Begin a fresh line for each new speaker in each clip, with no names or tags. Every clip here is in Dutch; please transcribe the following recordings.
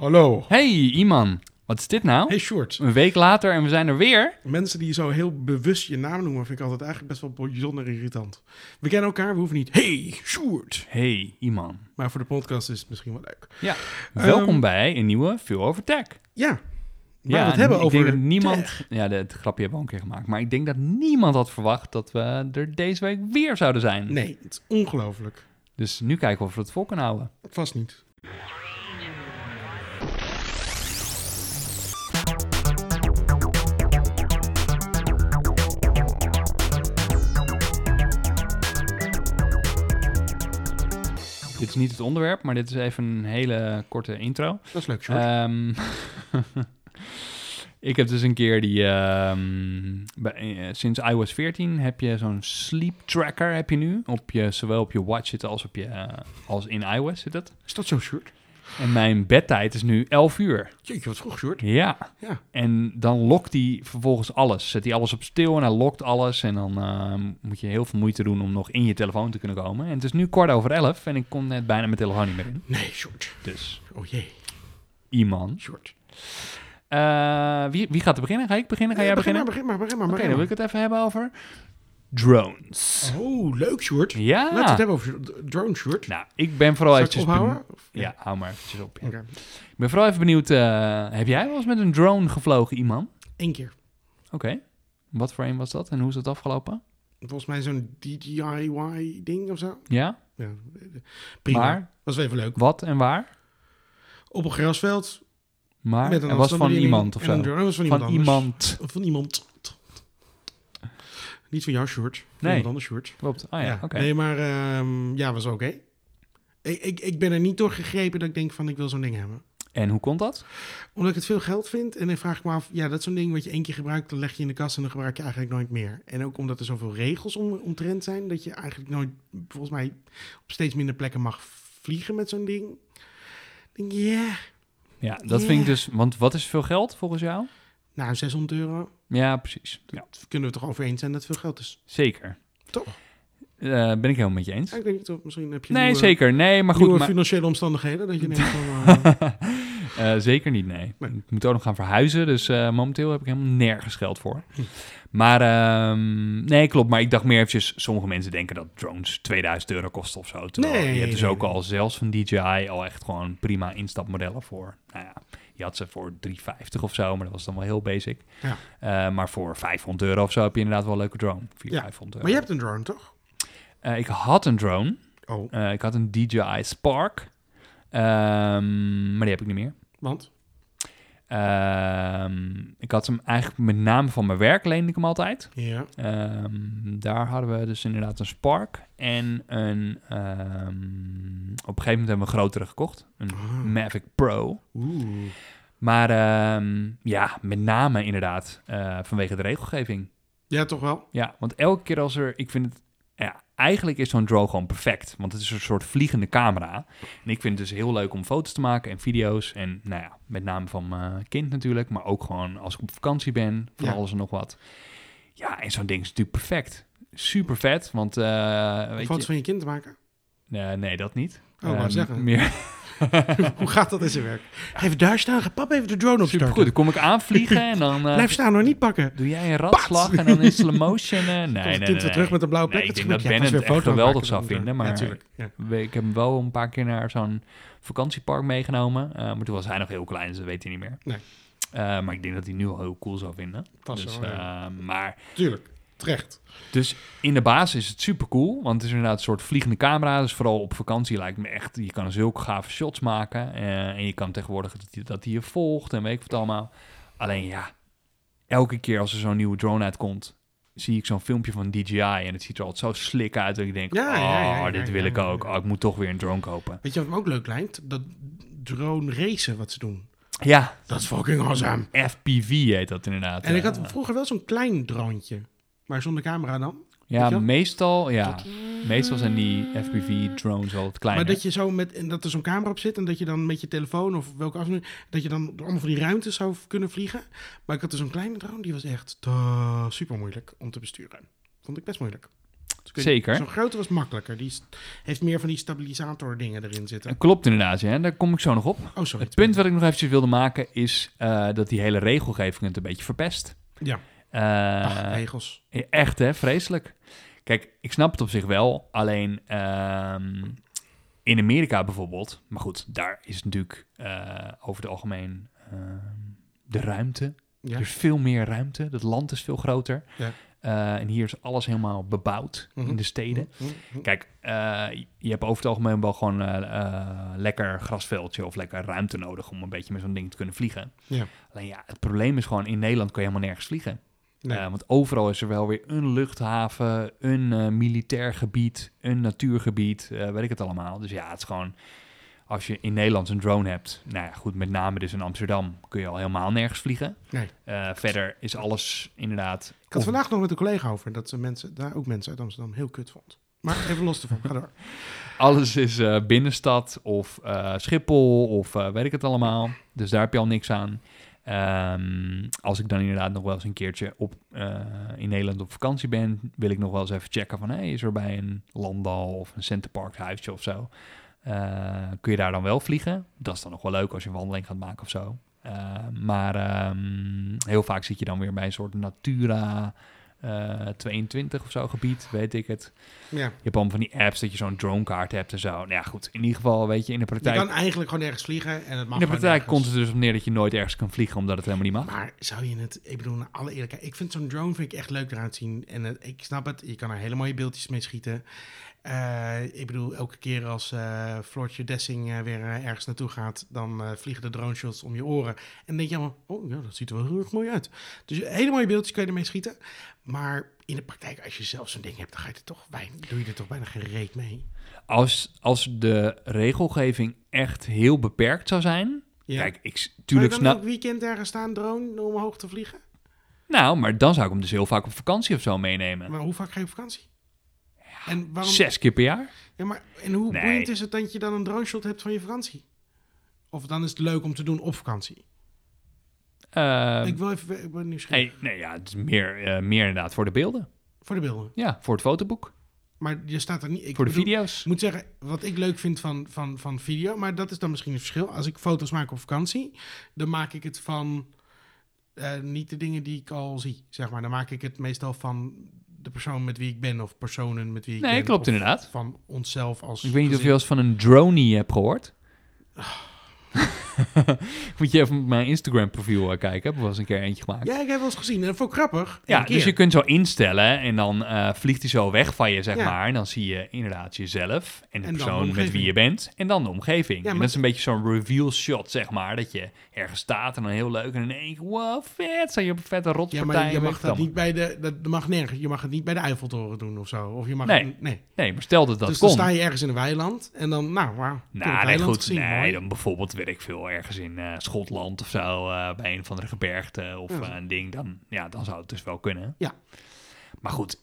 Hallo.
Hey, Iman. Wat is dit nou?
Hey Short.
Een week later en we zijn er weer.
Mensen die zo heel bewust je naam noemen, vind ik altijd eigenlijk best wel bijzonder irritant. We kennen elkaar, we hoeven niet. Hey Short.
Hey, Iman.
Maar voor de podcast is het misschien wel leuk.
Ja, welkom bij een nieuwe Veel Over Tech.
Ja. Maar
ja,
Ehm, we het hebben
ik
over.
denk dat niemand. Ja, dat grapje hebben we al een keer gemaakt. Maar ik denk dat niemand had verwacht dat we er deze week weer zouden zijn.
Nee, het is ongelooflijk.
Dus nu kijken we of we het vol kunnen houden.
Vast niet.
Dit is niet het onderwerp, maar dit is even een hele korte intro.
Dat is leuk, Short.
Ehm, ik heb dus een keer die. ehm, bij- eh, sinds iOS 14 heb je zo'n sleep tracker heb je nu. Op je, zowel op je watch zitten als, op je, eh, als in iOS zit het.
is dat zo, Short?
En mijn bedtijd is nu 11 uur.
Jeetje, wat vroeg, Short.
Ja.
Ja.
En dan lokt hij vervolgens alles. Zet hij alles op stil en hij lokt alles. En dan ehm, moet je heel veel moeite doen om nog in je telefoon te kunnen komen. En het is nu kwart over 11 en ik kon net bijna mijn telefoon niet meer in.
Nee, Short.
Dus
Oh jee,
iemand.
Short.
Eh, wie, wie gaat er beginnen? Ga ik beginnen? Ga jij
Eh, begin
beginnen?
maar, begin maar, begin maar.
Oké,
begin
dan wil ik het even hebben over drones.
maar. Oh, leuk, Short.
Ja.
Laten we het hebben over d- drone, Short.
Nou, ik ben vooral
Zal ik
eventjes...
ophouden?
benieu-
Of-
Ja, hou maar eventjes op. ja.
Oké.
Ik ben vooral even benieuwd, eh, heb jij wel eens met een drone gevlogen, iemand?
Eén keer.
Oké. Wat voor een was dat en hoe is dat afgelopen?
Volgens mij zo'n DJI-ding of zo.
Ja,
Ja, prima.
maar
Was wel even leuk.
wat en waar?
Op een grasveld.
Maar
met een
en was van
afstandsbediening
iemand of
en een
zo?
drone. was van iemand
Van
anders.
iemand.
Van iemand. Niet van jou, Short. Van
Nee.
iemand anders, Short.
Klopt. Ah ja, oké.
Nee, maar ehm, ja, was oké. Ik, ik, ik ben er niet door gegrepen dat ik denk van ik wil zo'n ding hebben.
En hoe komt dat?
Omdat ik het veel geld vind. En dan vraag ik me af, ja, dat is zo'n ding wat je één keer gebruikt, dan leg je in de kast en dan gebruik je eigenlijk nooit meer. En ook omdat er zoveel regels om, omtrent zijn, dat je eigenlijk nooit, volgens mij, op steeds minder plekken mag vliegen met zo'n ding. Denk je, ja,
Ja, dat vind ik dus... Want wat is veel geld volgens jou?
nou, 600 euro,
Ja, precies. Ja,
kunnen we toch over eens zijn dat het veel geld is.
zeker.
Toch?
Eh, ben ik helemaal met je eens.
Ja, ik weet niet of misschien heb je
Nee,
nieuwe,
zeker. Nee, maar goed.
nieuwe
Maar,
financiële omstandigheden, dat je denkt van, eh,
Eh, zeker niet, nee.
Nee.
Ik moet ook nog gaan verhuizen, dus eh, momenteel heb ik helemaal nergens geld voor.
Hm.
Maar, ehm, nee, klopt. Maar ik dacht meer eventjes, sommige mensen denken dat drones 2000 euro kosten of zo. Terwijl
Nee,
je hebt dus
nee,
ook
nee.
al, zelfs van DJI, al echt gewoon prima instapmodellen voor. Nou ja, je had ze voor 350 of zo, maar dat was dan wel heel basic.
Ja.
Eh, maar voor 500 euro of zo heb je inderdaad wel een leuke drone. 400,
Ja,
500
maar je hebt een drone, toch?
Eh, ik had een drone.
Oh,
Eh, ik had een DJI Spark. Ehm, maar die heb ik niet meer.
want?
Ehm, ik had hem eigenlijk met name van mijn werk leende ik hem altijd.
Ja.
Ehm, daar hadden we dus inderdaad een Spark en een... ehm, op een gegeven moment hebben we een grotere gekocht. Een
Ah.
Mavic Pro.
Oeh.
Maar ehm, ja, met name inderdaad eh, vanwege de regelgeving.
Ja, toch wel?
Ja, want elke keer als er... Ik vind het... Ja, eigenlijk is zo'n drone gewoon perfect. Want het is een soort vliegende camera. En ik vind het dus heel leuk om foto's te maken en video's. En nou ja, met name van mijn kind natuurlijk. Maar ook gewoon als ik op vakantie ben. Van
Ja.
alles en nog wat. Ja, en zo'n ding is natuurlijk perfect. Super vet, want... eh, weet
Foto's
je,
van je kind te maken?
nee, nee, dat niet.
Oh, wou
Ehm,
zeggen.
Meer,
Hoe gaat dat in zijn werk? Even daar staan, ga pap even de drone opstarten.
super goed. Dan kom ik aanvliegen en dan... eh,
Blijf staan, hoor, niet pakken.
Doe jij een ratslag en dan in slow motion? eh, nee, nee,
Komt het
nee,
kind weer
nee.
terug met een blauwe plek.
Nee, ik
het
denk
gemak. Ja,
dat Ben
gaan
het
ze weer
echt
foto's
geweldig
maken
zou
dan.
vinden, maar-
Ja, tuurlijk. Ja.
Ik heb hem wel een paar keer naar zo'n vakantiepark meegenomen. eh, maar toen was hij nog heel klein, dus dat weet hij niet meer.
Nee.
Eh, maar ik denk dat hij nu al heel cool zou vinden.
Vast
dus,
wel, ja.
eh, maar,
Tuurlijk, terecht.
dus in de basis is het super cool. Want het is inderdaad een soort vliegende camera. Dus vooral op vakantie lijkt me echt. Je kan zulke gave shots maken. eh, en je kan tegenwoordig dat hij, dat hij je volgt en weet ik wat allemaal. Alleen ja, elke keer als er zo'n nieuwe drone uitkomt. Zie ik zo'n filmpje van DJI en het ziet er altijd zo slik uit. Dat ik denk:
Ja,
Oh,
ja, ja, ja,
dit
ja,
wil ik
ja, ja.
ook. Oh, ik moet toch weer een drone kopen.
Weet je wat me ook leuk lijkt? Dat drone racen wat ze doen.
Ja,
Dat is fucking awesome.
FPV heet dat inderdaad.
En ik had
Eh,
vroeger wel zo'n klein droontje. Maar zonder camera dan.
ja,
weet je wel?
meestal, ja, meestal zijn die FPV-drones al het kleiner.
Maar dat je zo met, en dat er zo'n camera op zit en dat je dan met je telefoon of welke afstand, dat je dan door allemaal van die ruimtes zou kunnen vliegen. eh, Maar ik had dus zo'n kleine drone, die was echt super moeilijk om te besturen. Vond ik best moeilijk. Dus kun je-
Zeker.
Zo'n grote was makkelijker. Die is- heeft meer van die stabilisator dingen erin zitten.
Klopt inderdaad, ja. Daar kom ik zo nog op.
Oh, sorry.
Het punt wat ik nog eventjes wilde maken is eh, dat die hele regelgeving het een beetje verpest.
Ja,
Eh,
Ach, regels.
Echt hè, vreselijk. Kijk, ik snap het op zich wel. Alleen ehm, in Amerika bijvoorbeeld. Maar goed, daar is natuurlijk eh, over het algemeen ehm, de ruimte.
Ja.
Er is Dus veel meer ruimte. Het land is veel groter.
Ja.
Eh, en hier is alles helemaal bebouwd
Mhm.
in de steden.
Hm, hm.
Kijk, eh, je hebt over het algemeen wel gewoon eh, eh, lekker grasveldje of lekker ruimte nodig om een beetje met zo'n ding te kunnen vliegen.
Ja.
Alleen ja, het probleem is gewoon in Nederland kan je helemaal nergens vliegen.
Nee.
Eh, want overal is er wel weer een luchthaven, een eh, militair gebied, een natuurgebied, eh, weet ik het allemaal. Dus ja, het is gewoon, als je in Nederland een drone hebt, nou ja, goed, met name dus in Amsterdam kun je al helemaal nergens vliegen.
Nee.
Eh, verder is alles inderdaad...
Ik had
of-
vandaag nog met een collega over dat ze mensen, daar ook mensen uit Amsterdam heel kut vond. Maar even los ervan, ga door.
Alles is eh, binnenstad of eh, Schiphol of eh, weet ik het allemaal. Dus daar heb je al niks aan. Ehm, als ik dan inderdaad nog wel eens een keertje op, eh, in Nederland op vakantie ben, wil ik nog wel eens even checken van hey, is er bij een landal of een Centerparks huisje of zo. eh, kun je daar dan wel vliegen? Dat is dan nog wel leuk als je een wandeling gaat maken of zo. Eh, maar ehm, heel vaak zit je dan weer bij een soort Natura eh, 22 of zo gebied, weet ik het.
Ja.
Je hebt allemaal van die apps dat je zo'n dronekaart hebt en zo. Nou ja, goed. In ieder geval, weet je, in de
Je
praktijk,
kan eigenlijk gewoon ergens vliegen en het mag
in de
gewoon
praktijk
nergens.
komt het er dus op neer dat je nooit ergens kan vliegen, omdat het helemaal niet mag.
Maar zou je het, ik bedoel, naar alle eerlijkheid, ik vind zo'n drone vind ik echt leuk eruit zien. En het- ik snap het, je kan er hele mooie beeldjes mee schieten. Eh, ik bedoel, elke keer als eh Floortje Dessing eh, weer eh, ergens naartoe gaat, dan eh, vliegen de drone shots om je oren. En dan denk je allemaal, oh ja, dat ziet er wel heel erg mooi uit. Dus hele mooie beeldjes kun je ermee schieten. Maar in de praktijk, als je zelf zo'n ding hebt, dan ga je er toch bij, doe je er toch bijna geen reet mee.
Als, als de regelgeving echt heel beperkt zou zijn.
Ja.
Kijk, ik s-
Zou je
tuurlijk
dan
snap.
elk weekend ergens staan, drone, om omhoog te vliegen?
Nou, maar dan zou ik hem dus heel vaak op vakantie of zo meenemen.
Maar hoe vaak ga je op vakantie? En waarom,
Zes keer per jaar?
Ja, maar en hoe
Nee.
boeiend is het dat je dan een drone shot hebt van je vakantie? Of dan is het leuk om te doen op vakantie.
Ehm,
ik wil even ik ben nieuwsgierig.
nee, nee, ja, het is meer, eh, meer inderdaad voor de beelden.
Voor de beelden.
Ja, voor het fotoboek.
Maar je staat er niet. Ik
voor de
bedoel,
video's.
Ik moet zeggen, wat ik leuk vind van, van, van video, maar dat is dan misschien het verschil. Als ik foto's maak op vakantie, dan maak ik het van eh, niet de dingen die ik al zie, zeg maar. Dan maak ik het meestal van de persoon met wie ik ben of personen met wie ik ben.
Nee, klopt
of
inderdaad.
Van onszelf als
Ik weet niet of
gezin.
je wel eens van een droney hebt gehoord. Moet je even op mijn Instagram profiel eh, kijken. Ik heb er wel eens een keer eentje gemaakt. Ja,
Ja, ik heb wel eens gezien. En dat vond ik grappig. Eén keer.
dus je kunt zo instellen en dan eh, vliegt hij zo weg van je, zeg
Ja.
maar. En dan zie je inderdaad jezelf en de
En dan de
persoon met wie
omgeving.
je bent. En dan de omgeving.
maar-
En dat is een beetje zo'n reveal shot, zeg maar. Dat je ergens staat en dan heel leuk en in één keer, wow, vet, zijn je op een vette
Ja,
rotpartij.
maar je
en weet
mag
ik
dat
dan.
niet bij de. Dat mag nergens. Je mag het niet bij de Eiffeltoren doen of zo. Of je mag.
Nee.
het- nee.
Nee, maar stel dat dat
dus
kon.
dan sta je ergens in een weiland en dan. Nou, wauw. ik heb
Nou,
het
nee,
weiland
goed.
gezien,
nee,
mooi.
dan bijvoorbeeld, weet ik veel, ergens in eh, Schotland of zo, eh, bij een of andere gebergte of
Ja,
eh, een ding, dan, ja, dan zou het dus wel kunnen.
Ja.
Maar goed,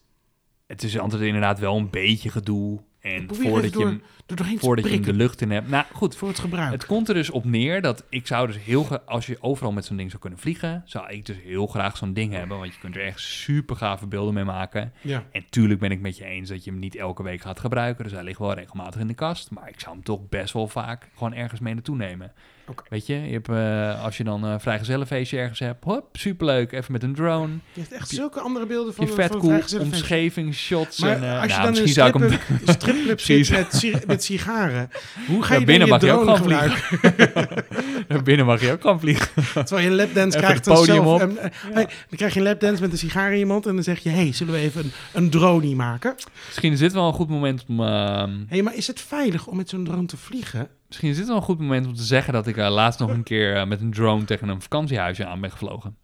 het is altijd inderdaad wel een beetje gedoe. En
Probeer even
voordat je,
door,
hem,
door doorheen te
voordat je hem de
prikken
lucht in hebt. Nou goed,
voor het gebruik.
het komt er dus op neer dat ik zou dus heel graag, als je overal met zo'n ding zou kunnen vliegen, zou ik dus heel graag zo'n ding hebben. Want je kunt er echt super gave beelden mee maken.
ja.
En tuurlijk ben ik met je eens dat je hem niet elke week gaat gebruiken. Dus hij ligt wel regelmatig in de kast. Maar ik zou hem toch best wel vaak gewoon ergens mee naartoe nemen.
Oké.
Weet je, je hebt, eh, als je dan een vrijgezellenfeestje ergens hebt. Hop, superleuk. Even met een drone.
Je hebt echt
je-
zulke andere beelden van.
je vet
van
cool,
vrijgezinnen feesten.
omscheving, shots.
Maar
en, eh,
als je
nou,
dan in een
misschien zou ik hem...
stripclub, stripclub zit
Precies.
met, si- met sigaren, hoe ga
Ja,
je binnen
binnen mag je
je
ook
drone
gewoon vliegen.
gebruiken?
Naar binnen mag je ook gaan vliegen.
Terwijl je een lapdance
Even
krijgt.
het
en
podium
zelf,
op.
en, eh, hey, dan krijg je een lapdance met een sigaar in je mond en dan zeg je, hey, zullen we even een, een drone maken?
Misschien is dit wel een goed moment om... ehm,
Hé, maar is het veilig om met zo'n drone te vliegen?
misschien is dit wel een goed moment om te zeggen dat ik eh, laatst nog een keer eh, met een drone tegen een vakantiehuisje aan ben gevlogen.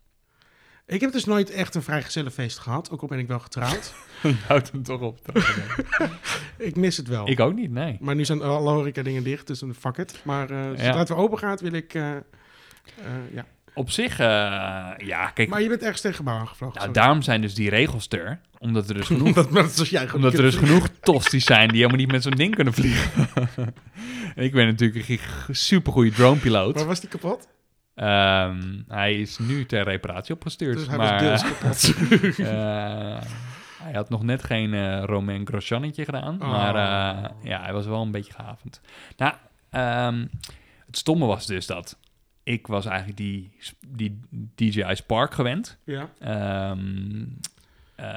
Ik heb dus nooit echt een vrijgezellenfeest gehad, ook al ben ik wel getrouwd.
Je houdt hem toch op.
ik mis het wel.
ik ook niet, nee.
Maar nu zijn alle horeca dingen dicht, dus een fuck it. Maar eh zodra
Ja.
het weer open gaat, wil ik... eh, eh, ja.
Op zich, eh, ja, kijk,
Maar je bent ergens tegen gebouw aangevlogen.
Nou,
sorry.
daarom zijn dus die regels er. Omdat er dus genoeg,
Omdat, maar dat is jij gewoon
omdat er
niet
dus
kunt
genoeg tosties zijn die helemaal niet met zo'n ding kunnen vliegen. En ik ben natuurlijk een gig- supergoeie
vliegen. Maar
dronepiloot.
was die kapot?
Ehm hij is nu ter reparatie opgestuurd.
Dus hij
maar,
was deels kapot.
eh, Hij had nog net geen eh Romain Grosjeannetje gedaan,
Oh.
maar eh, ja, hij was wel een beetje gehavend. Nou, ehm, het stomme was dus dat ik was eigenlijk die, die DJI Spark gewend.
Ja.
Ehm, eh,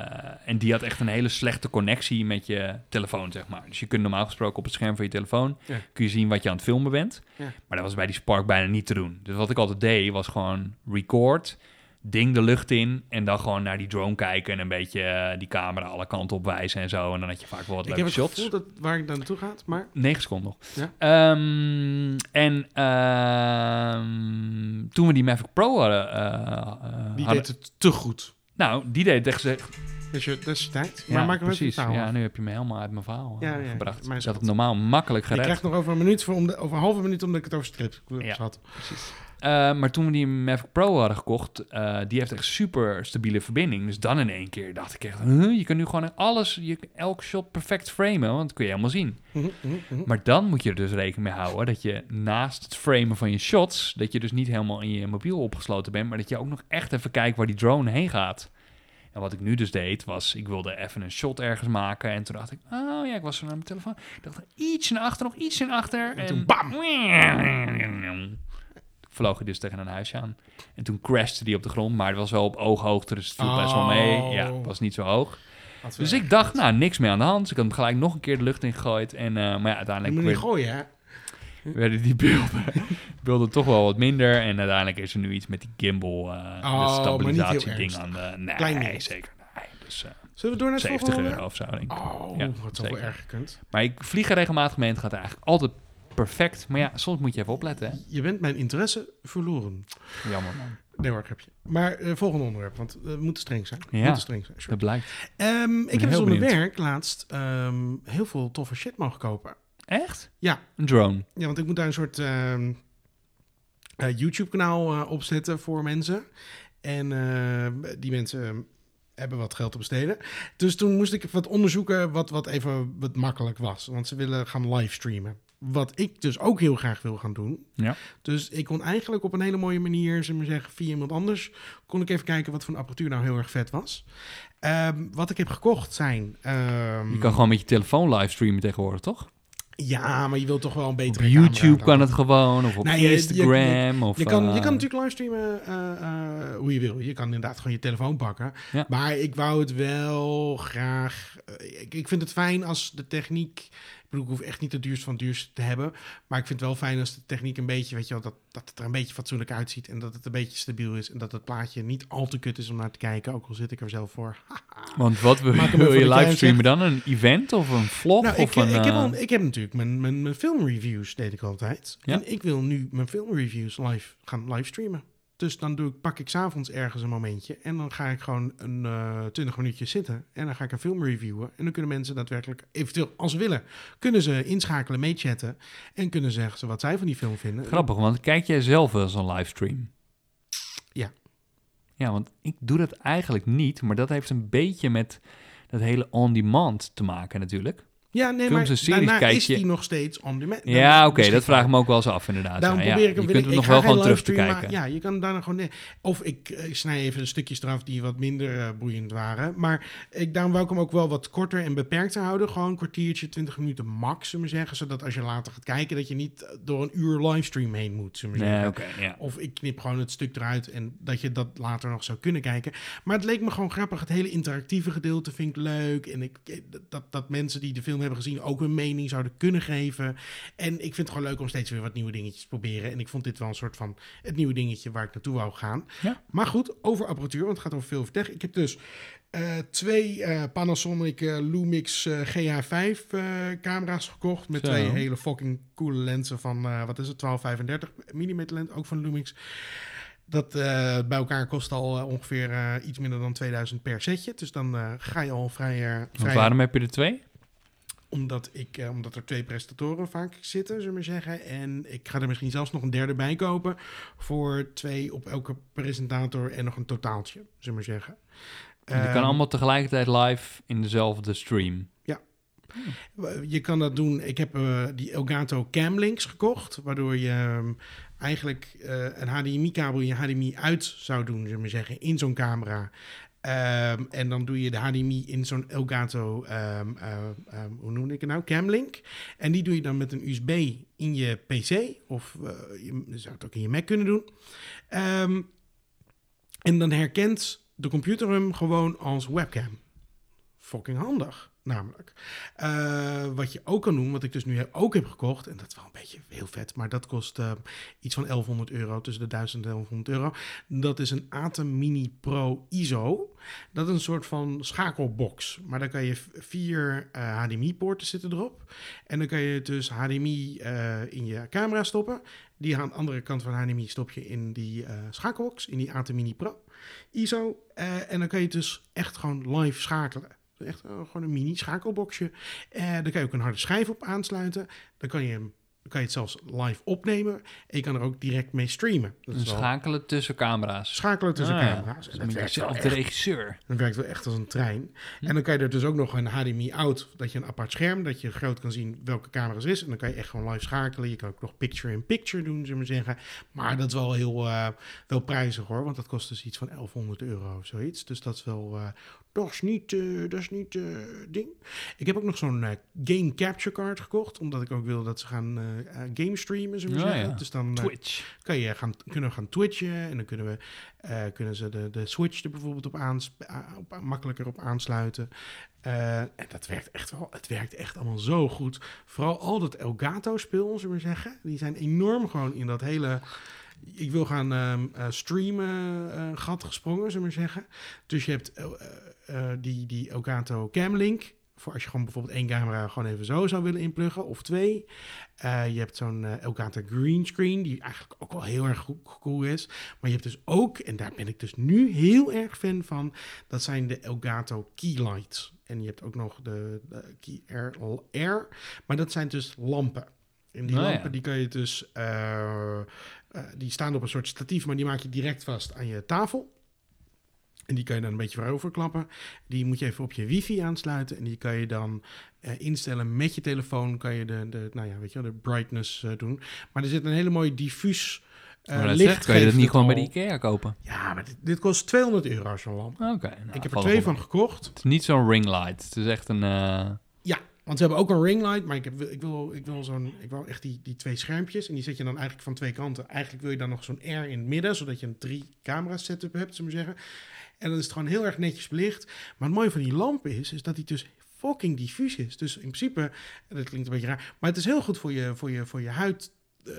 en die had echt een hele slechte connectie met je telefoon, zeg maar. Dus je kunt normaal gesproken op het scherm van je telefoon...
Ja.
kun je zien wat je aan het filmen bent.
Ja.
Maar dat was bij die Spark bijna niet te doen. Dus wat ik altijd deed, was gewoon record... ding de lucht in en dan gewoon naar die drone kijken... en een beetje eh, die camera alle kanten op wijzen en zo. En dan had je vaak wel wat
Ik heb
leuke
het
shots.
gevoel dat waar ik naartoe gaat, maar...
9 seconden nog.
Ja.
Ehm, en ehm, toen we die Mavic Pro hadden... eh, eh,
Die
hadden-
deed het te goed.
Nou, die deed echt ze-
Dus je, dat is je tijd.
ja,
maar maak hem even
precies.
taal
Ja,
af.
nu heb je me helemaal uit mijn verhaal eh,
Ja, ja,
gebracht.
maar is
ik had het
goed.
normaal makkelijk
Je
gered.
krijgt nog over een minuut, voor om de, over een halve minuut omdat ik het over strip
Ja.
had.
Eh, maar toen we die Mavic Pro hadden gekocht, eh, die heeft echt super stabiele verbinding. Dus dan in één keer dacht ik echt, huh, je kan nu gewoon alles, je, elk shot perfect framen, want dat kun je helemaal zien.
Mhm, mhm, mhm.
Maar dan moet je er dus rekening mee houden dat je naast het framen van je shots, dat je dus niet helemaal in je mobiel opgesloten bent, maar dat je ook nog echt even kijkt waar die drone heen gaat. En wat ik nu dus deed, was ik wilde even een shot ergens maken. En toen dacht ik, oh ja, ik was zo naar mijn telefoon. Ik dacht, iets naar achter, nog iets naar achter. En
toen bam!
Vloog hij dus tegen een huisje aan. En toen crashte die op de grond, maar het was wel op ooghoogte, dus het viel best wel mee. Ja, het was niet zo hoog.
Had we-
Dus ik dacht, nou, niks meer aan de hand. Dus ik had hem gelijk nog een keer de lucht ingegooid. En, eh, maar ja,
Je
uiteindelijk
moet niet
weer,
gooien, hè?
werden die beelden, beelden toch wel wat minder. En uiteindelijk is er nu iets met die gimbal,
Oh,
eh dat
maar niet heel
stabilisatie-ding
ernstig.
aan de... Nee,
Klein ding.
zeker. Nee, dus eh,
Zullen we door naar het
70
volgende?
euro of zo, denk ik.
Oh,
Ja,
het had toch wel
zeker.
erg gekund.
Maar ik vlieg er regelmatig mee en het gaat eigenlijk altijd perfect. Maar ja, soms moet je even opletten, hè.
Je bent mijn interesse verloren.
Jammer, man.
Nee hoor, grapje. Maar eh, volgende onderwerp, want we moeten streng zijn. We
Ja.
moeten streng zijn. sure.
Dat blijkt.
Ehm, ik heb
heel
dus op mijn
benieuwd.
werk laatst ehm, heel veel toffe shit mogen kopen.
Echt?
Ja.
Een drone.
Ja, want ik moet daar een soort ehm, eh, YouTube-kanaal eh, opzetten voor mensen. En eh, die mensen eh, hebben wat geld te besteden. Dus toen moest ik wat onderzoeken wat, wat even wat makkelijk was. Want ze willen gaan livestreamen. Wat ik dus ook heel graag wil gaan doen.
Ja.
Dus ik kon eigenlijk op een hele mooie manier, ze maar zeggen, via iemand anders... kon ik even kijken wat voor een apparatuur nou heel erg vet was. Ehm, wat ik heb gekocht zijn... ehm,
Je kan gewoon met je telefoon livestreamen tegenwoordig, toch?
Ja, maar je wilt toch wel een
Op
betere camera
YouTube
dan.
kan het gewoon, of op
Nee, je- je-
Instagram, of...
Je kan, je
eh,
kan natuurlijk livestreamen eh, eh, hoe je wil. Je kan inderdaad gewoon je telefoon pakken.
Ja.
Maar ik wou het wel graag. eh, ik, ik vind het fijn als de techniek. Ik bedoel, ik hoef echt niet het duurste van het duurste te hebben. Maar ik vind het wel fijn als de techniek een beetje, weet je wel, dat, dat het er een beetje fatsoenlijk uitziet. En dat het een beetje stabiel is. En dat het plaatje niet al te kut is om naar te kijken. Ook al zit ik er zelf voor.
Want wat wil,
Maak hem
wil
even
je
voor de
livestreamen dan? Een event of een vlog?
nou, ik,
of een,
ik, heb
eh,
al, ik heb natuurlijk mijn, mijn, mijn filmreviews, deed ik altijd.
Ja.
En ik wil nu mijn filmreviews live gaan livestreamen. Dus dan doe ik, pak ik s'avonds ergens een momentje. En dan ga ik gewoon een eh 20 minuutjes zitten. En dan ga ik een film reviewen. En dan kunnen mensen daadwerkelijk, eventueel als ze willen, kunnen ze inschakelen, meechatten. En kunnen zeggen ze wat zij van die film vinden.
Grappig, want kijk jij zelf wel eens een livestream?
Ja.
Ja, want ik doe dat eigenlijk niet, maar dat heeft een beetje met dat hele on-demand te maken natuurlijk.
Ja, nee,
Films
maar
en series
daarna
kijk
is
je-
die nog steeds on demand.
ja, oké, dat
beschikbaar.
vraag ik me ook wel eens af inderdaad.
Daarom
ja,
probeer ik
ja.
hem wil
Je kunt
ik-
hem
ik
nog
ga
wel
geen
gewoon terug te
livestream, maar
kijken.
ja, je kan daarna gewoon... nee. Of ik, eh, ik snij even de stukjes eraf die wat minder eh, boeiend waren. Maar ik, daarom wou ik hem ook wel wat korter en beperkter houden. Gewoon een kwartiertje, twintig minuten max, zullen we zeggen. Zodat als je later gaat kijken, dat je niet eh, door een uur livestream heen moet, zullen we zeggen.
Nee, oké, ja.
Of ik knip gewoon het stuk eruit en dat je dat later nog zou kunnen kijken. Maar het leek me gewoon grappig. Het hele interactieve gedeelte vind ik leuk. En ik, eh, dat, dat mensen die de film hebben gezien ook hun mening zouden kunnen geven. En ik vind het gewoon leuk om steeds weer wat nieuwe dingetjes te proberen. En ik vond dit wel een soort van het nieuwe dingetje waar ik naartoe wou gaan.
Ja.
Maar goed, over apparatuur, want het gaat over veel tech. Ik heb dus eh, twee eh, Panasonic eh, Lumix eh, GH5 eh, camera's gekocht. Met
Zo.
twee hele fucking coole lenzen van, eh, wat is het, 1235 mm lens, ook van Lumix. Dat eh, bij elkaar kost al eh, ongeveer eh, iets minder dan 2000 per setje. Dus dan eh, ga je al vrij... eh,
Want
vrij
waarom heb je er twee?
omdat, ik, eh, omdat er twee prestatoren vaak zitten, zullen we maar zeggen. En ik ga er misschien zelfs nog een derde bij kopen. Voor twee op elke presentator en nog een totaaltje, zullen we maar zeggen.
Je kan
Ehm,
allemaal tegelijkertijd live in dezelfde stream.
Je kan dat doen. Ik heb eh, die Elgato Camlinks gekocht, waardoor je ehm, eigenlijk eh, een HDMI-kabel je HDMI uit zou doen, zullen we maar zeggen, in zo'n camera. Ehm, en dan doe je de HDMI in zo'n Elgato, ehm, ehm, ehm, hoe noem ik het nou? Camlink. En die doe je dan met een USB in je PC. Of eh, je zou het ook in je Mac kunnen doen. Ehm, en dan herkent de computer hem gewoon als webcam. Fucking handig, namelijk. Eh, wat je ook kan doen, wat ik dus nu heb- ook heb gekocht. En dat is wel een beetje heel vet. Maar dat kost eh, iets van 1100 euro. Tussen de 1000 en 1100 euro. Dat is een Atem Mini Pro ISO. Dat is een soort van schakelbox. Maar daar kan je v- vier eh, HDMI-poorten zitten erop. En dan kan je dus HDMI eh, in je camera stoppen. Die aan de andere kant van HDMI stop je in die eh, schakelbox, in die Atem Mini Pro ISO. Eh, en dan kan je dus echt gewoon live schakelen. Dus Echt eh, gewoon een mini schakelboxje. Eh daar kan je ook een harde schijf op aansluiten. Dan kan je, hem- dan kan je het zelfs live opnemen. En je kan er ook direct mee streamen. Dat
Een
is wel-
schakelen tussen camera's.
schakelen tussen
Ah, ja.
camera's. En
Dan ben je
werkt wel
zelf
echt.
de regisseur.
Dat werkt wel echt als een trein.
Hm.
En dan kan je er dus ook nog een HDMI-out, dat je een apart scherm, dat je groot kan zien welke camera er is. En dan kan je echt gewoon live schakelen. Je kan ook nog picture-in-picture doen, zullen we zeggen. Maar dat is wel heel eh, wel prijzig hoor, want dat kost dus iets van 1100 euro of zoiets. Dus dat is wel, eh, dat is niet, eh, dat is niet eh, ding. Ik heb ook nog zo'n eh, game capture card gekocht, omdat ik ook wil dat ze gaan eh, eh, game streamen, zullen we
Ja,
zeggen.
ja.
Dus dan, eh,
Twitch.
kan je gaan, kunnen we gaan twitchen en dan kunnen, we, eh, kunnen ze de, de Switch er bijvoorbeeld op aans, a- op, makkelijker op aansluiten. Eh, en dat werkt echt wel, het werkt echt allemaal zo goed. Vooral al dat Elgato-spul, zullen we zeggen. Die zijn enorm gewoon in dat hele... Ik wil gaan ehm, eh, streamen, eh, gat gesprongen, zullen we zeggen. Dus je hebt eh, eh, eh, die, die Elgato Camlink. Voor als je gewoon bijvoorbeeld één camera gewoon even zo zou willen inpluggen, of twee. Eh, je hebt zo'n eh, Elgato Green Screen, die eigenlijk ook wel heel erg go- cool is. Maar je hebt dus ook, en daar ben ik dus nu heel erg fan van, dat zijn de Elgato Keylights. En je hebt ook nog de, de Key Air, Air, maar dat zijn dus lampen. En die
Nou ja.
lampen die kan je dus, eh, eh, die staan op een soort statief, maar die maak je direct vast aan je tafel. En die kan je dan een beetje vooroverklappen. Die moet je even op je wifi aansluiten. En die kan je dan eh, instellen met je telefoon. Kan je de, de, nou ja, weet je, wel, de brightness eh, doen. Maar er zit een hele mooie diffuus eh,
Maar dat
licht.
zegt, kan je dat
geeft
niet
het
gewoon bij de
al.
Ikea kopen?
Ja, maar dit, dit kost 200 euro zo'n lamp.
Oké. nou,
ik heb er
vallen
twee
op.
van gekocht.
Het is niet zo'n ringlight. Het is echt een... eh,
Ja, want ze hebben ook een ringlight, maar ik, heb, ik wil, ik wil, zo'n, ik wil echt die, die twee schermpjes. En die zet je dan eigenlijk van twee kanten. Eigenlijk wil je dan nog zo'n R in het midden, zodat je een drie camera setup hebt, zullen we zeggen. En dan is het gewoon heel erg netjes belicht. Maar het mooie van die lamp is, is dat die dus fucking diffuus is. Dus in principe, en dat klinkt een beetje raar, maar het is heel goed voor je, voor je, voor je huid. Eh,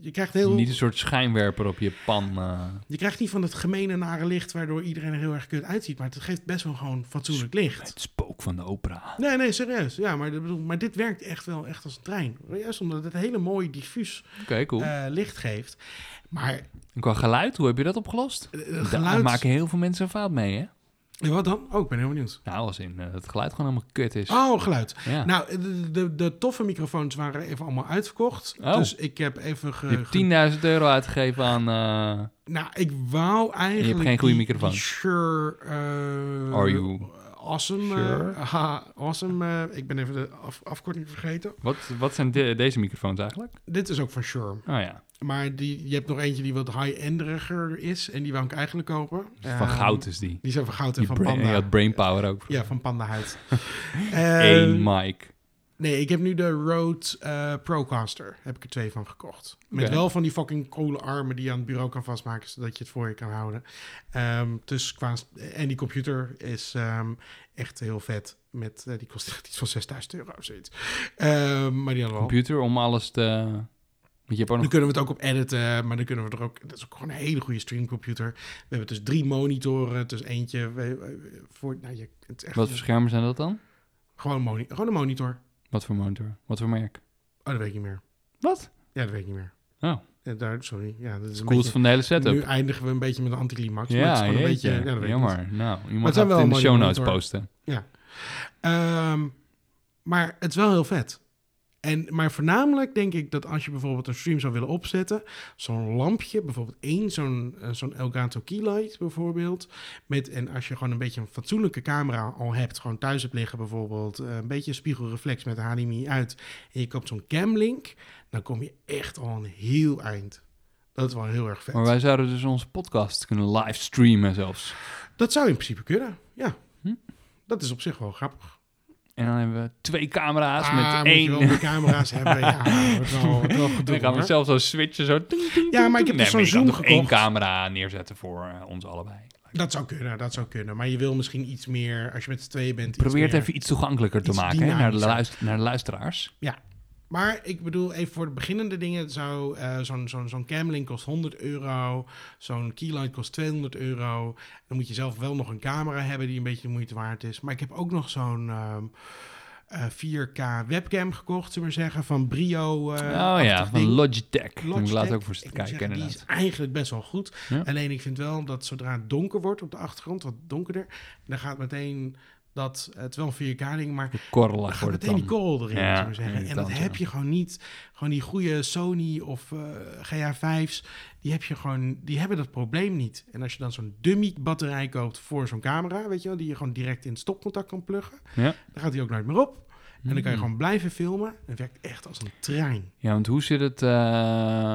je krijgt heel...
Niet een soort schijnwerper op je pan. eh.
Je krijgt niet van dat gemene nare licht waardoor iedereen er heel erg kut uitziet. Maar het geeft best wel gewoon fatsoenlijk licht.
het spook van de opera.
Nee, nee, serieus. Ja, maar, ik bedoel, maar dit werkt echt wel echt als een trein. Juist omdat het hele mooie diffuus
Oké, cool.
eh, licht geeft. Maar
en qua geluid, hoe heb je dat opgelost?
eh,
Daar
geluid...
maken heel veel mensen een fout mee, hè?
Ja, Wat dan? Oh, ik ben heel benieuwd.
Nou, als in eh, het geluid gewoon helemaal kut is.
Oh, geluid.
ja.
Nou, de, de, de toffe microfoons waren even allemaal uitverkocht.
Oh.
Dus ik heb even... Ge, ge-
je hebt 10.000 euro uitgegeven aan... eh,
Nou, ik wou eigenlijk...
geen goede
die-
microfoon.
die Shure... eh,
Are you
Awesome. eh,
sure?
haha, awesome. eh, ik ben even de af- afkorting vergeten.
wat, wat zijn de- deze microfoons eigenlijk?
Dit is ook van Shure.
Oh ja,
Maar die, je hebt nog eentje die wat high-enderiger is. En die wou ik eigenlijk kopen.
van
Ehm,
goud is die.
Die zijn van goud en
die
van
brain-
panda.
Je had brainpower ook.
Ja, van pandahuid.
Eén
Ehm
mic.
nee, ik heb nu de Rode eh, Procaster. Heb ik er twee van gekocht. Met
Oké.
wel van die fucking coole armen die je aan het bureau kan vastmaken. Zodat je het voor je kan houden. Ehm, dus qua... En die computer is ehm, echt heel vet. Met, eh, die kost echt iets van 6000 euro of zoiets. Ehm, maar die hadden we al.
Computer om alles te... Want je hebt ook
Dan
nog...
kunnen we het ook op editen, maar dan kunnen we er ook... Dat is ook gewoon een hele goede streamcomputer. We hebben dus drie monitoren, dus eentje... we- we- Voor, nou, je, het is echt
Wat voor schermen zijn dat dan?
gewoon, moni- gewoon een monitor.
Wat voor monitor? Wat voor merk?
Oh, dat weet ik niet meer.
Wat?
Ja, dat weet ik niet meer.
Oh.
Ja, daar, sorry. Ja, dat is een
Coolst
beetje...
van de hele setup.
Nu eindigen we een beetje met een anticlimax. maar het is
ja,
gewoon een beetje...
jeetje.
Ja, dat weet ik niet.
Jammer. Nou,
het zijn
iemand gaat het
wel
in de
mooie
show notes
monitoren.
posten.
Ehm, maar het is wel heel vet. En, maar voornamelijk denk ik dat als je bijvoorbeeld een stream zou willen opzetten, zo'n lampje, bijvoorbeeld één, zo'n eh, zo'n Elgato Keylight bijvoorbeeld, met, en als je gewoon een beetje een fatsoenlijke camera al hebt, gewoon thuis hebt liggen bijvoorbeeld, eh, een beetje een spiegelreflex met HDMI uit, en je koopt zo'n camlink, dan kom je echt al een heel eind. Dat is wel heel erg vet.
Maar wij zouden dus onze podcast kunnen livestreamen zelfs.
Dat zou in principe kunnen, ja.
Hm?
Dat is op zich wel grappig.
En dan hebben we twee camera's
Ah,
met
moet je
één.
wel meer camera's hebben. Ja, dat wordt wel, wordt wel
En
gedoe,
dan gaan we
hoor.
zelf zo switchen. Zo. ting, ting,
Ja, maar ik heb
ting. Nee,
dus
maar
zo'n Zoom
je kan toch één
gekocht.
camera neerzetten voor eh, ons allebei.
Dat zou kunnen, dat zou kunnen. Maar je wil misschien iets meer, als je met z'n tweeën bent... iets
Probeer het
meer-
even iets toegankelijker te
iets
maken hè, naar de,
dynamischer.
luister- naar de luisteraars.
Maar ik bedoel, even voor de beginnende dingen, zou, eh, zo'n zo'n zo'n camlink kost 100 euro, zo'n keylight kost 200 euro. Dan moet je zelf wel nog een camera hebben die een beetje de moeite waard is. Maar ik heb ook nog zo'n ehm, eh, 4K webcam gekocht, zullen we maar zeggen, van Brio. eh,
oh ja,
achtig
van
ding.
Logitech. Daar moet Ik laat
Logitech.
ook voor
Ik
zitten
moet zeggen,
kijken.
die
inderdaad.
is eigenlijk best wel goed.
Ja.
Alleen ik vind wel dat zodra het donker wordt op de achtergrond, wat donkerder, dan gaat meteen dat, eh, het is wel een 4K-ding, maar
De korrelig
dan gaat
wordt het
meteen die
dan.
kool erin,
Ja,
zou ik zeggen. En dat
irritant,
heb
ja.
je gewoon niet. Gewoon die goede Sony of eh, GH5's, die, heb je gewoon, die hebben dat probleem niet. En als je dan zo'n dummy batterij koopt voor zo'n camera, weet je wel, die je gewoon direct in het stopcontact kan pluggen,
Ja.
dan gaat die ook nooit meer op. En dan kan je
Hmm.
gewoon blijven filmen. Het werkt echt als een trein.
Ja, want hoe zit het... eh,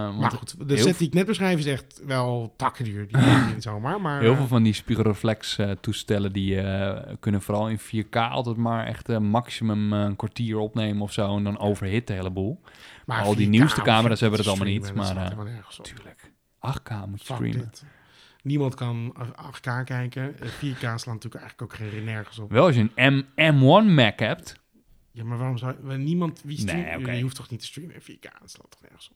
want
Maar goed, de
heel
set die ik net beschrijf is echt wel takken duur. Die weet je niet zomaar, maar...
Heel
eh,
veel van die spiegelreflex-toestellen die eh, kunnen vooral in 4K altijd maar echt eh, maximum eh, een kwartier opnemen of zo en dan overhit de hele boel.
maar
al die
4K
nieuwste
of
camera's
zo, dat
hebben
te
dat allemaal niet,
streamen, dat
maar,
slaat
eh,
helemaal nergens op.
Tuurlijk. 8K moet je
Fuck
streamen.
dit. Niemand kan 8K kijken. Eh, 4K slaat natuurlijk eigenlijk ook geen nergens op.
Wel als je een M M1 Mac hebt.
Ja, maar waarom zou... wel, Niemand... Wie streamt?
Nee, oké.
Je hoeft toch niet te streamen in 4K? Dat slaat toch nergens op?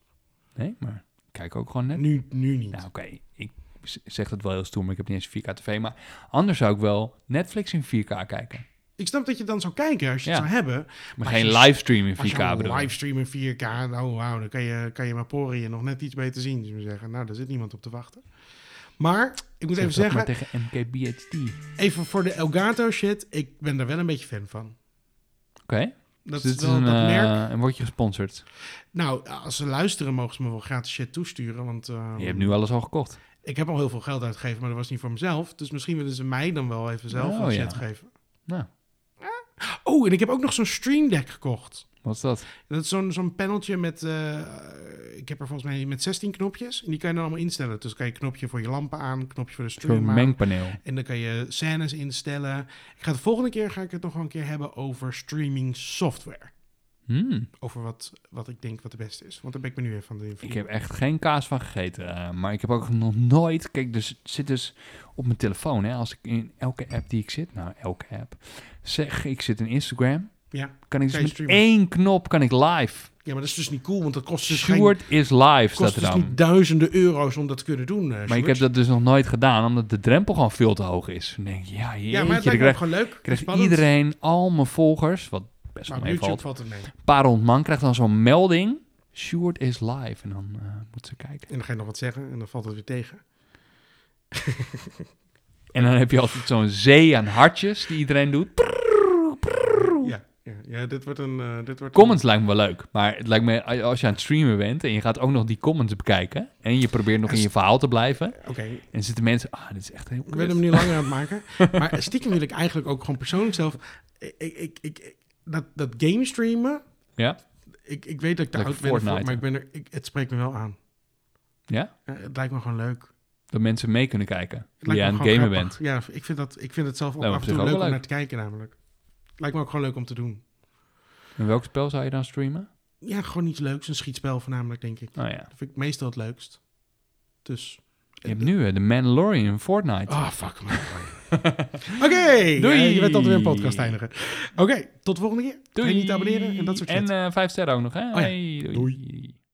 Nee, maar kijk ook gewoon net.
Nu, nu niet.
Nou oké, ik z- zeg het wel heel stoer, maar ik heb niet eens 4K tv. Maar anders zou ik wel Netflix in 4K kijken.
Ik snap dat je dan zou kijken als je het
Ja.
zou hebben.
Maar,
Maar
geen
als je-
livestream in
Als
4K
je een
bedoel ik.
livestream in 4K... Nou, wauw. Dan kan je, kan je maar poriën nog net iets beter zien. zullen we zeggen. Nou, daar zit niemand op te wachten. Maar, ik moet even
Zeg dat
zeggen...
maar tegen MKBHD. Oké,
Even voor de Elgato shit. Ik ben daar wel een beetje fan van. Dat
dus dit
is
is
wel
een,
dat
eh,
merk.
en word je gesponsord.
Nou, als ze luisteren, mogen ze me wel gratis shit toesturen. Want eh,
Je hebt nu alles al gekocht.
ik heb al heel veel geld uitgegeven, maar dat was niet voor mezelf. Dus misschien willen ze mij dan wel even zelf
Oh,
wat
ja.
shit geven.
Nou.
Oh, en ik heb ook nog zo'n Stream Deck gekocht.
Wat is dat?
Dat is zo'n zo'n paneltje met, eh, ik heb er volgens mij met 16 knopjes. En die kan je dan allemaal instellen. Dus kan je knopje voor je lampen aan, knopje voor de
Zo'n
stream aan.
mengpaneel.
En dan kan je scènes instellen. Ik ga de volgende keer ga ik het nog wel een keer hebben over streaming software.
Hmm.
over wat, wat ik denk wat de beste is. Want daar ben ik me nu even van de invloed.
Ik heb echt geen kaas van gegeten. eh, maar ik heb ook nog nooit... Kijk, dus zit dus op mijn telefoon. Hè, als ik in elke app die ik zit... Nou, elke app. Zeg, ik zit in Instagram.
Ja.
Kan ik
Kan
dus
je
met
streamen?
één knop kan ik live.
ja, maar dat is dus niet cool, want dat kost dus, geen,
Stuart is live, staat
kost
er
dus
dan.
niet duizenden euro's om dat te kunnen doen. eh,
maar ik
Sjoerd.
heb dat dus nog nooit gedaan, omdat de drempel gewoon veel te hoog is. Dan denk ik, ja, jeetje,
ja, maar het lijkt
dan
me ook
krijgt,
gewoon leuk.
krijgt
spannend.
iedereen, al mijn volgers, wat best
Maar
wel
op YouTube
meevalt,
valt het mee.
een paar honderd man krijgt dan zo'n melding. Sjoerd is live. En dan eh moeten ze kijken.
En dan ga je nog wat zeggen en dan valt het weer tegen.
En dan heb je altijd zo'n zee aan hartjes die iedereen doet. Prrrr, prrrr.
Ja, ja, ja dit wordt een... eh, dit wordt
Comments lijkt me wel leuk, maar het lijkt me als je aan het streamen bent en je gaat ook nog die comments bekijken en je probeert nog in je verhaal te blijven
Oké,
en dan zitten mensen, ah, dit is echt heel
ik ben hem
kut.
nu langer aan het maken. Maar stiekem wil ik eigenlijk ook gewoon persoonlijk zelf... Ik, ik, ik, ik- dat, dat game streamen...
Ja.
Ik, ik weet dat ik daar
Lekker
oud ben voor,
Fortnite.
maar ik ben er, ik, het spreekt me wel aan.
Ja?
Ja, het lijkt me gewoon leuk.
Dat mensen mee kunnen kijken
Het
hoe
lijkt
je
me
aan het
gewoon
gamen
grappig.
bent.
Ja, ik vind, dat, ik vind het zelf ook
Lijkt me
af en
op
toe
zich
leuk
ook
om
wel
naar te kijken namelijk. Lijkt me ook gewoon leuk om te doen.
En welk spel zou je dan streamen?
Ja, gewoon iets leuks. Een schietspel voornamelijk, denk ik.
Oh ja.
Dat vind ik meestal het leukst. Dus...
Je hebt nu eh, de Mandalorian in Fortnite.
Ah, fuck man. Oké,
Doei.
eh, je bent altijd weer een podcast eindigen. Oké, tot de volgende keer. Vergeet
Doei!
niet te abonneren en dat soort shit. Oh
En eh, vijf sterren ook nog, hè?
ja.
Hey,
Doei.